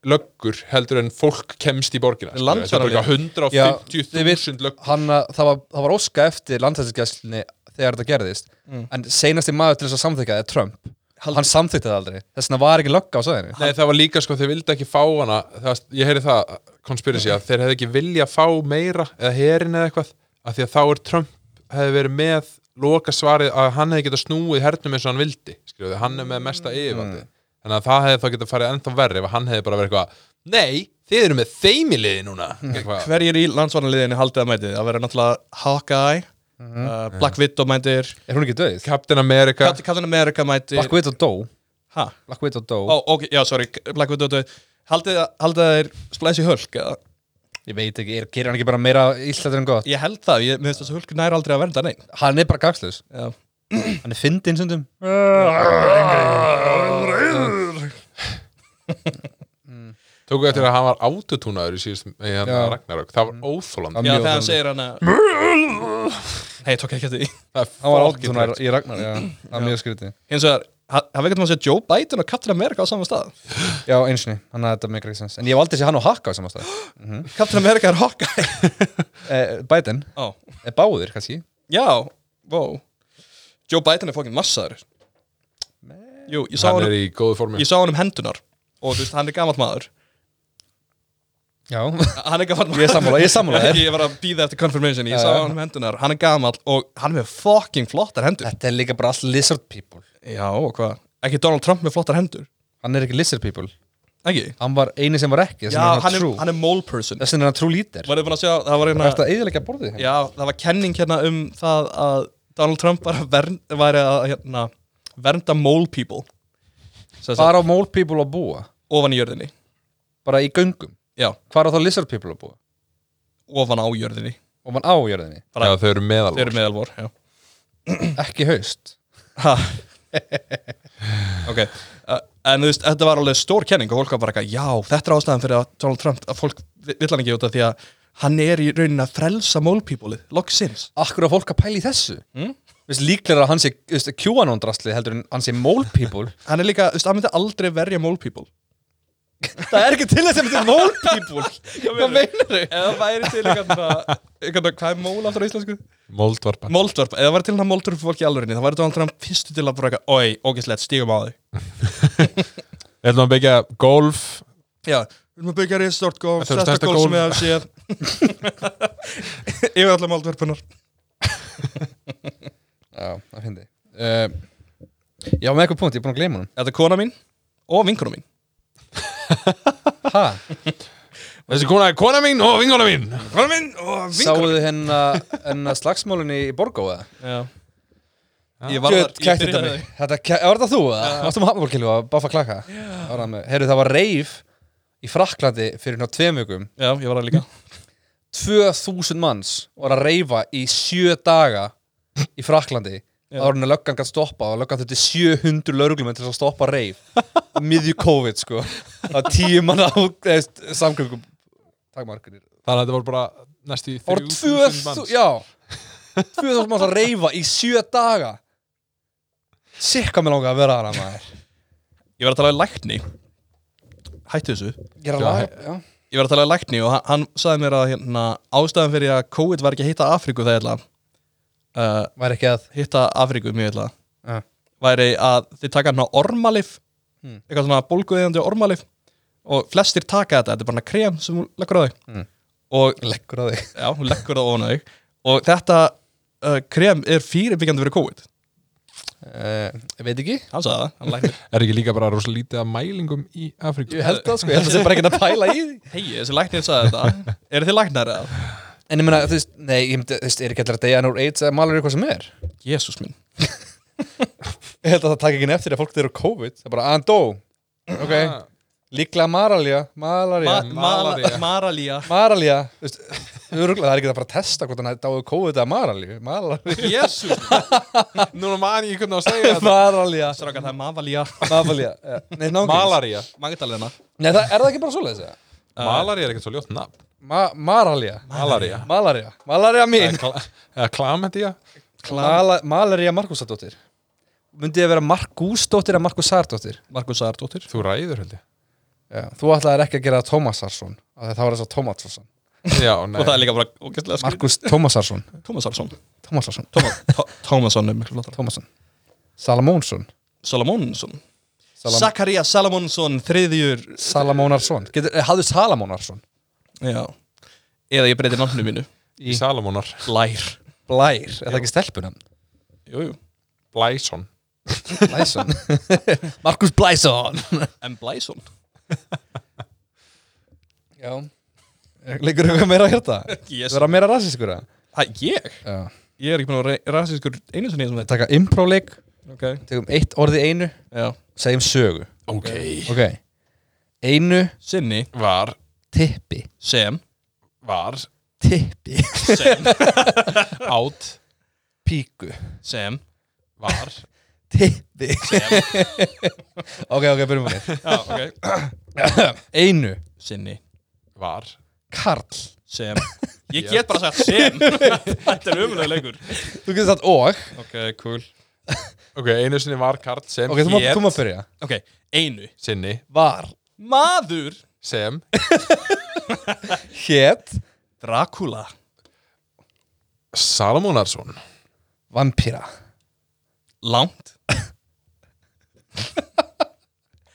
löggur heldur en fólk kemst í borgina skilur við. Það er bara Já, þið vit- 150.000 löggur hann, að- það, var, það var óska eftir landhæstisgæslinni þegar þetta gerðist en seinasti maður til þess að samþykja það er Trump hann samþykti það aldrei þess vegna var ekki lögga á sæðinu Nei, það var líka sko, þeir vildi ekki fá hana það, ég heyri það, konspirasi að þeir hefði ekki vilja fá meira eða herin eða eitthvað, af því að þá er Trump hefði verið með loka svarið að hann hefði getað snúið hernum eins og hann vildi skrifuði, hann er með mesta Mm. yfirvandi þannig að það hefði þá getað farið ennþá verri ef hann hefði bara verið eitthvað, nei, þið eru með þeimiliði núna Mm. eitthvað, hverjir í landsvarnarliðinu haldið að mætið? Það verður náttúrulega Hawkeye, uh, Black Widow mætir, er hún ekki döið? Captain America Cat- Captain America mætir Black Widow dó, Ha? Black Widow dó. Ó, ok, já, sorry, Black Widow döð. Haldið að- haldið að þeir splæsi hölk? eða? ég veit ekki, er, gerir hann ekki bara meira illættur en gott Ég held það, ég meðist þessu hölk nær aldrei að vernda neinn. hann er bara gagslaus Já. hann er fyndinn sundum tóku eftir að hann var autotúnaður í síðust í hann Já. Ragnarök, það var óþólandi Já, Mjög þegar Mm. hann þannig. segir hann að... Nei, ég tók ekki eftir því. það er hann var fucking áttunar í tregt. Ragnar já, það er mjög skrítið Hins vegar, Það veikum að segja Joe Biden og Captain America á saman stað Já, einsinni, þannig að þetta make ekki sens En ég valdi sér hann og Hakka á saman stað mm -hmm. Captain America er Hawkeye Biden, Ó. eh, báður kannski Já, wow Joe Biden er fokkin massaður Jú, ég sá Hann hann, er í góðu formi ég sá hann um hendunar Og þú veist, hann er gamall maður Já, Hann er gamall maður ég er sammála, ég er sammála þér. Ég var að býða eftir confirmation Ég Já, sá já. hann um hendunar, hann er gamall Og hann er með fokkin flottar hendur Þetta er líka bara all lizard people Já, og hvað Ekki Donald Trump með flottar hendur Hann er ekki lizard people Ekki? Hann var eini sem var ekki, þess Já, vegna er hann hann er, trú hann er mole person Þess vegna er hann trú lítir Var þið búin að sjá, það var Það er hérna að eðilega borðið hérna. Já, það var kenning hérna um það að Donald Trump var að vern, væri að hérna, vernda mole people Sess, Hvar á mole people að búa? ofan í jörðinni Bara í göngum Já, Hvar á þá lizard people að búa? ofan á jörðinni Og mann á jörðinni, Já, þau eru Þeir eru meðalvar meðalvor já. ekki haust Ha. Ok uh, En þú veist, þetta var alveg stór kenning og fólk var bara eitthvað, já, þetta er ástæðan fyrir að Donald Trump, að fólk vill hann ekki út af því að hann er í raunin að frelsa mole people-ið, loksins Akkur á fólk að pæla í þessu? Mm. Vist líklega að hann sé þú veist, QAnon drastli heldur en hann sé mole people Hann er líka, þú veist, hann myndi aldrei verja mole people Það er ekki til þess að þetta er mole people Hvað meinar þau? Eða væri til eitthvað, eitthvað hvað er mól aftur á íslensku? Moldvarpa Moldvarp, eða væri til hann moldvarp fólk í alvörinni þá væri Donald Trump fyrstu til að bara eitthvað Oi, ógæslegt, stígum á þau Við ætlum að byggja golf Já, við erum að byggja restort gól, Þetta er stærsta stærsta gól sem gólf. við hafum séð Yfir allar moldvarpunar Já, það finnst þið Já, með eitthvað punkt, ég er búin að gleyma Þetta er kona mín og vinkona mín hann Hæ? Þessi kona er kona mín og vingona mín Kona mín og Sáuðu hennar hennar slagsmálinni hérna, í Borgó eða? Já Ég var Gjöld þar, ég kætti þetta byrjaði mig Þetta, ke- var þetta þú eða? Varstu með hafnabólkilu að bafa klaka? Var það með- Heyrðu, það var reif í Fraklandi fyrir ná tveim vikum Já, ég var það líka 2000 manns var að reifa í sjö daga í Fraklandi Það var henni að löggan gætt stoppa og löggan þurfti 700 lögreglum til þess að stoppa reif miðju COVID sko það var tíu manna á samkvöngum Takk margur Þannig að þetta voru bara næstu í Það 3000 voru 2000, manns já 2000 manns að reyfa í sjö daga Sikka mig langaði að vera hana maður Ég var að tala í lækni Hættu þessu Ég er að Já, laga, já Ég var að tala í lækni og hann, hann sagði mér að hérna, ástæðan fyrir að COVID var ekki að hitta Afríku það er uh, Væri ekki að hitta Afríku mjög illa Já. væri að þið taka hann á ormalif eitthvað svona bólguðiðandi ormalif og flestir taka þetta, þetta er bara hann krem sem hún leggur á þig Mm. og leggur á þig já, hún leggur það ofan á þig og þetta uh, krem er fyrirbyggjandi fyrir COVID uh, Ég veit ekki hann sagði það, hann læknir Er ekki líka bara rosa lítið af mælingum í Afríku? Ég held það sko, ég held það sem bara ekki að pæla í því hei, þessi læknir sagði þetta, eru þið læknar eða? En ég meina, þú veist, nei, ég myndi, þú veist, er ekki allir að deyja en úr AIDS eða malar eitthvað sem er Jésús minn Ég held að það taka ekki neftir að fólk þeir eru COVID Það er bara, að hann dó Ok, líklega maralía, malaría Ma malaría. ma- Maralía Maralía, þú veist, þau eru örugglega- það er ekki að fara að testa hvort hann hafi dáið úr COVID eða maralíu Malaría, Jésús minn Núna man ég hvernig að segja þetta maralía Strákar, það er Mavalía Mafalia, já. Nei, nángríns. Malaría Magdalena Nei, það, er það ekki bara svoleiðis, eða? Ah. Malaría er ekkert svo ljótt nafn Ma Maralia. Malaría Malaria. Malaria mín. Eða klamendía Mala Malaria Markúsadóttir. Myndi ég vera Markúsdóttir eða Markúsardóttir? Markus Sæðardóttir Þú ræður held ég Já. Þú ætlaðir ekki að gera það Tómasarsson. af því að Það var þess að Tómasarsson. Já, og það er nei líka bara ógæstlega skrið Markús Tómasarsson. Tómasarsson Tómasarsson. Tómasson er miklu flottar Tómasson. Salamónsson. Salamónsson Salam Zakaria Salamónsson, þriðjur Salamónarsson. Getur, eh, hafðu Salamónarsson? Já Eða ég breyti nafnu mínu Í Salomónar Blær Blær. Er það ekki stelpunum? Jújú Blæson Blæson. Markús Blæson. En Blæsson Já. Liggur eitthvað meira að hérta? Yes. Vera meira rasiskur að? Það ég Já. Ég er ekki búin að vera rasískur einu sinni sem Við þetta taka impróleik, Ok tegum eitt orði einu Já segjum sögu Ok ok, einu Sinni Var tippi Sem Var tippi, Sem Átt píku Sem Var tippi ok, ok, byrjum við Já, ok einu, Sinni Var karl Sem Ég get bara sagt sem Þetta er umlega leikur þú getur sagt og Ok, cool Ok, einu sinni var Karl sem Ok, þú má- hét- þú má byrja Ok, einu Sinni Var Maður sem Hét Dracula Salomónarsson Vampíra Langt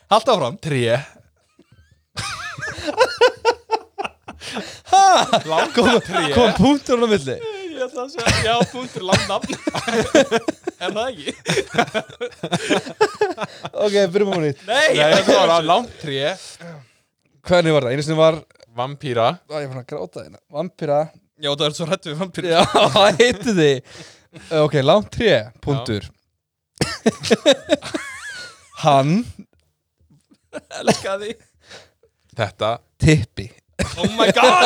Haldt áfram 3 Kom punktur á milli Ég ætla að segja, já, punktur langt nafn Er það ekki? Ok, byrjum á nýtt Nei, Nei, þetta var að langt 3 Hvernig var það? Einu sinni var Vampíra Æ, ég fann að gráta hérna Vampíra Já, það er svo hrætt við vampir Já, hvað heiti þið? Ok, langt tré, punktur Hann Elka því Þetta tippi Oh my god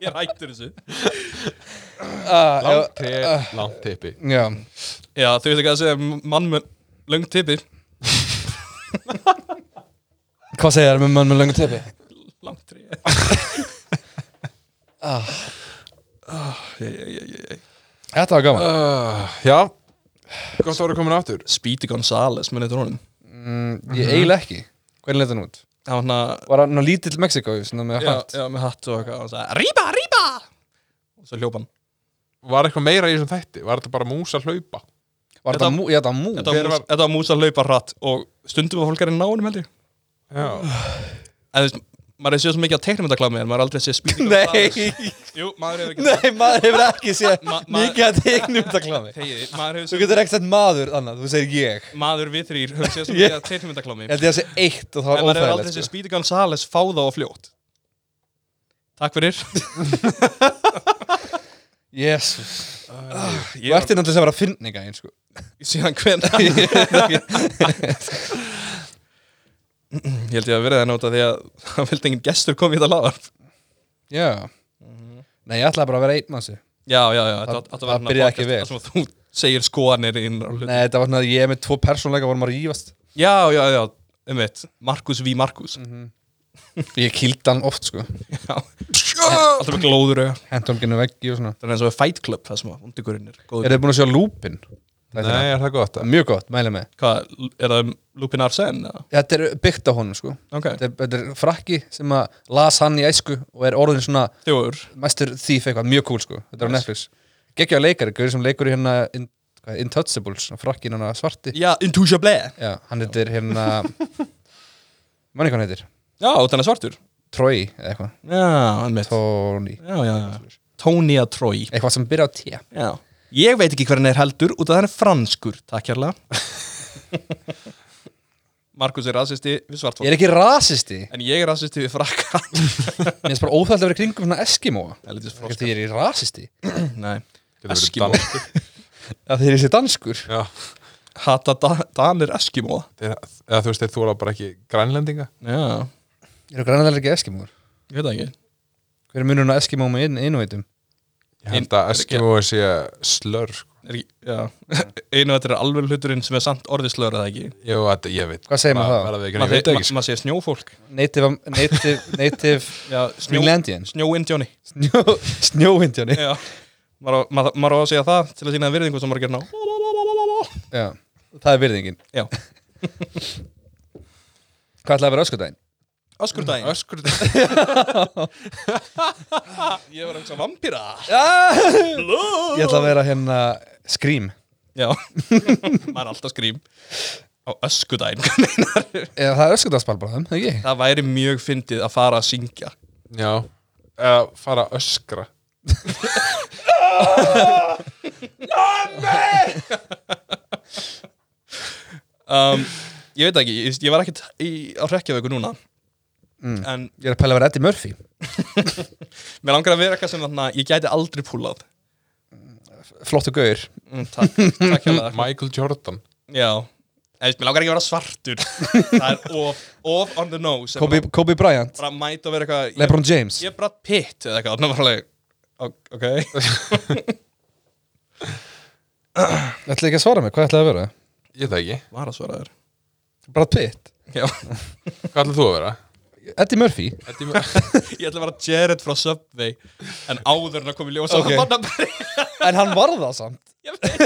Ég er hættur þessu uh, Langt 3 Langt tippi Já, Já, þau veist ekki að segja mann með löng tippi hvað segir það með mann með löngu tippi? Langt trí Ah. Ah, Þetta var gaman uh, Já Gott að voru komin aftur Speedy Gonzales, mun þetta honum mm, Ég eiginlega ekki Hvernig leit hann út? Það var hann Var hann á lítill Mexiko, svona með já, hatt já, með hatt og eitthvað og hann sagði Ríba, ríba og svo hljóp hann Var eitthvað meira í þessum þætti? Var þetta bara mús að hlaupa? Var þetta mú? Já, þetta var mú þetta var, Hver mús, var- þetta var mús að hlaupa hratt og stundum var fólk að reyna náunum held ég Já en þú veist, maður er séð svo mikið á teiknumyndaklammi en maður er aldrei séð spýting Nei, jú, maður hefur ekki nei, maður hefur ekki séð Ma- maður- Mikið að teiknum þetta klámi Þegiði, maður hefur Þú séð getur ekki sett maður, annað, þú segir ég maður við þrýr hefur séð svo Ég- mikið á teiknumyndaklammi Ég held ég að segja eitt og það en var maður hefur aldrei óþægilegt séð sko. Speedy Gonzales fá þá á fljótt takk fyrir Jésus, Ah, þú ég ert náttúrulega sem var að finna eitthvað eins sko síðan hven ég held ég að verið að nota því að það vildi engin gestur komið í þetta lagar Já Mhm. Nei, ég ætlaði bara að vera einn mann sig Já, já, já, þetta Það- átt að það vera svona byrjaði podcast ekki vel. þar sem að Þú segir skoðanir inn á hlutum. Nei, þetta var svona að ég með tvo persónleika vorum að rífast Já, já, já, um veit Markus V. Markus Ég kýldi hann oft, sko Alltaf með glóður auga Hentu hann genið veggi og svona Það er eins og við Fight Club það sem að undigurinn er Er góður þið búin að sjá lúpin? Nei, er það gott? Mjög gott, mæli með Hvað, er það um Lupin Arsene? eða? Þetta er byggt á honum, sko Ok, Þetta er, þetta er frakki sem að las hann í æsku og er orðin svona þjóður mæstur þýf eitthvað, mjög cool, sko Þetta er á Netflix Gekkja á leikari, gaur sem leikur í hérna in, hvað, Intouchables, frakkin hann svarti Já, Intusha Ble Já, hann heitir hérna Manni hvað hann heitir? Já, og þannig svartur Troy, eða eitthvað Já, um veit Tony Já, já, já Tonya Troy Eitthvað sem byrja á T Já Ég veit ekki hver hann er heldur út að hann er franskur Takk hérlega Markus er rasisti við Ég svartfólk er ekki rasisti Mér En ég er rasisti við frakka finnst bara óþægt að vera í kringum svona eskimóa Það er lítið Ekki því ég er í rasisti Nei Getur verið Eskimo. danskur. Það þeir eru sér danskur Já Hata da Danir Eskimo Þeir, eða þú veist, þeir þóla bara ekki grænlendinga Já, Eru grænlega ekki eskimóar ég veit það ekki Hver er munurinn á eskimóum og inn, innveitum? Ég held að Eskimo sé slör sko. Er ekki, já Einu þetta er alveg hluturinn sem er samt orðislöður eða ekki Jú, þetta, ég veit Hvað segir maður Ma- það? verða við ekki, Maður Ég veit segir- ekki ma- maður segir snjófólk Native, native, native Já, snjó Greenlandian Snjóindjóni Snjó, Snjóindjóni Já Maður á- maður- maður á að segja það til að sína virðingu sem maður gerir ná Já, það er virðingin Já Hvað ætlaði að vera öskudaginn? Öskurdaginn Öskur Ég var eins og vampýra Ég ætla að vera hérna Scream Já Maður er alltaf skrím Á öskudaginn hvað meinar Eða það er öskudagsball bara, það ekki? Það væri mjög fyndið að fara að syngja Já, eða fara að öskra um, Ég veit ekki, ég, ég var ekkert í, á hrekkjavöku núna En Ég er að pæla að vera Eddie Murphy mér langar að vera eitthvað sem þarna Ég gæti aldrei púlað Flottu gaur mm, Takk, takk hérlega Michael Jordan Já En þú veist, mér langar ekki að vera svartur Það er of, of on the nose Kobe, Bara, Kobe Bryant bara mæta að vera eitthvað ég- LeBron James Ég er bara pitt eða eitthvað Þannig var alveg ok- Ok Ætlaði ekki að svara mér, hvað ætlaði að vera? Ég veit það ekki, Var að svara þér Brad Pitt Já hvað ætlar þú að vera? Eddie Murphy Þetta er mjög- Ég ætla að vera Jared frá Subway En áður en að koma í ljós Ok. okay. bara, En hann var það samt Ég veit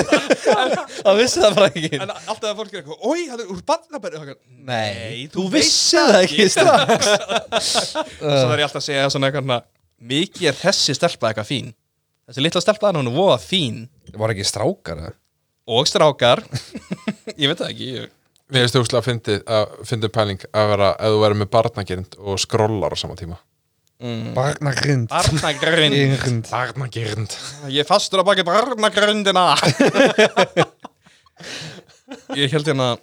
það Það vissi það bara ekki En alltaf að fólk er eitthvað Ói, hann er úr barnabæri Nei, þú þú vissi það ekki strax Svo er ég alltaf að segja svona eitthvað svona, Mikið er þessi stelpa eitthvað fín Þessi litla stelpa hann, hún er voða fín Var ekki strákar eða? Og strákar Ég veit það ekki ég... Mér finnst þú úrslega að fyndi, að fyndi pæling að vera, ef þú verður með barnagerind og skrollar á sama tíma. Mm. Barnagrind Barnagrind Grind. Barnagerind. Ég er fastur að baki barnagrindina Ég held hérna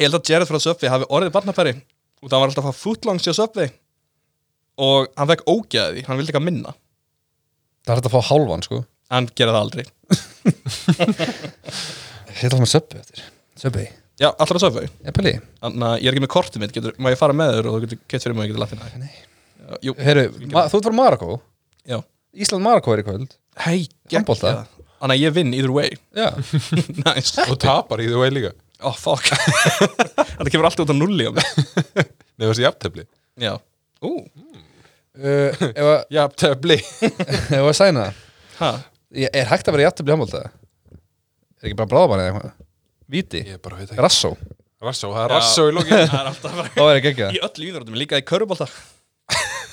Ég held að Jared frá Subway hafi orðið barnapæri og það var alltaf að fá footlongs í Subway og hann fekk ógæði því, hann vildi eitthvað minna Það er hægt að fá hálfan sko hann gerði það aldrei Hérna með söpbu eftir Söpbu Já, allra Subway Eppeli Þannig að ég er ekki með kortið mitt, getur, má ég fara með þér og þú getur kett fyrir mig og ég getur lappin það Nei. Eh, Já, Jú, Heru, ma- þú ert frá Marako já Ísland Marako er í kvöld Hei, Handbolta. geggjað. Þannig að ég vinn either way Já Nice Og tapar í þú vei líka. Oh, fuck Þetta kemur alltaf út af nulli á mig Nefnir þessi jafntefli. Já Ú, uh, Ef að- Jafntefli. ef að sæna það hæ Ég- Er hægt að vera í aftabli handbólta? Er ekki bara bráðamann eða eitthvað? Víti? Ég bara veit ekki. Rassó? Rassó, það er rassó í lókinu. Það er alltaf bara Það var ekki ekki Í það öllu íðrótum, líka í körubólta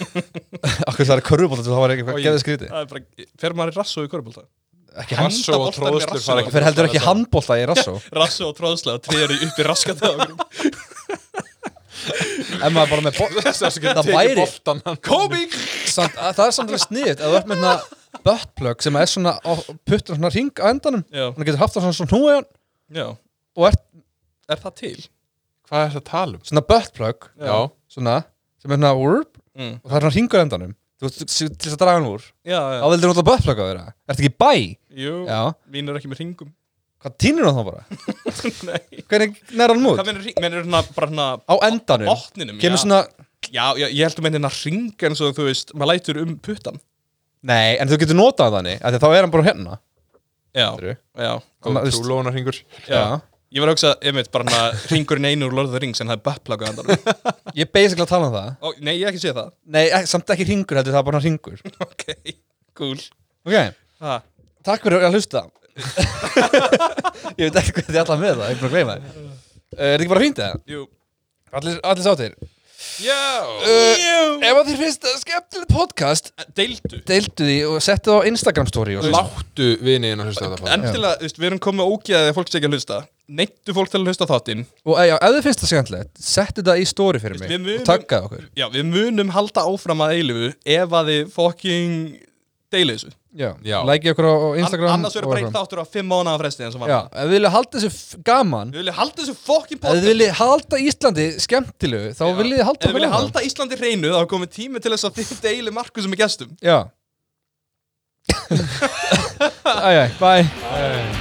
Akkur það er körfubólta Það var ekki Oj. eitthvað Geðið skríti Það er bara, fer maður í rassu í körubólta Ekki hann Rassó og Handa boltanum í tróðslur rassó. fara Það ekki. fer heldur ekki handbólta í rassó Rassu og tróðslega, tríðar í uppi raskat En maður er bara með bó- Þessi afsökun Það tekið væri- boltann, hann- Komi samt, að- Það er samt alveg sniðt Ef þú ert með hérna Buttplug sem er svona á- Puttur svona ring á endanum Já, Þannig getur haft það svona svona hnúi á hann já Og ert Er það til? Hvað er það að tala um? svona buttplug Já. Svona Sem er svona wurp, Mm. Og það er svona ringur endanum Þú veist til þess að draga hann úr Já, Þá já, vildir þú alltaf buttplug á þeirra Ertu ekki í bæ? jú Já Mín er ekki með ringum Hvað týnir hann þá bara? Nei Hvernig nær hann Hvað út? mennur ring? Mennur hérna bara hérna Á endanum Botninum, já Kemur svona Já, já, ég held að menna hérna ring eins og þú veist Maður lætur um puttan Nei, en þú getur notað þannig af því að Þá er hann bara hérna Já, Fattarðu? já Annað, Góð þú veist- trúlónarhingur. Já. Ég var að hugsa, einmitt, bara hann að ringurinn einu úr Lord of the Rings en það er böpplaga endanum. Ég er basically að tala um það Ó, nei, ég hef ekki séð það. Nei, ek- samt ekki ringur, þetta er það bara ringur Ok, cool. Ok, Ha, takk fyrir að hlusta Ég veit ekki hvað þið ætlaði með það Ég er bara að gleyma þið Er þetta ekki bara fínt eða? jú. Allir, allir sáttir Já! uh, Ef að þér finnst þetta skemmtilegt podcast e, Deildu. Deildu því og settu það á Instagram story og svona. Láttu viniðin að hlusta á þetta fólk. Endilega, þú veist, við erum komið ógæðið að fólk sé ekki að hlusta. Neittu fólk til að hlusta á þáttinn. Og eh, já, ef þið finnst þetta skemmtilegt Settu það í story fyrir mig Við munum- Og taggaðu okkur Já, við munum halda áfram að eilifu ef að þið fucking deilu þessu. Já, Já. Lækið okkur á á Instagram annars verður og bara einn eitthvað. þáttur á fimm mánuða fresti eins og Já, vann. ef þið vilja halda þessu f- gaman Við viljum halda þessu fucking Ef þið podcast. viljið halda Íslandi skemmtilegu þá viljið þið halda Ef þið viljið áfram. halda Íslandi hreinu, þá er komið tími til þess að þið deili Markusum í gestum. Já Æ, æ, bye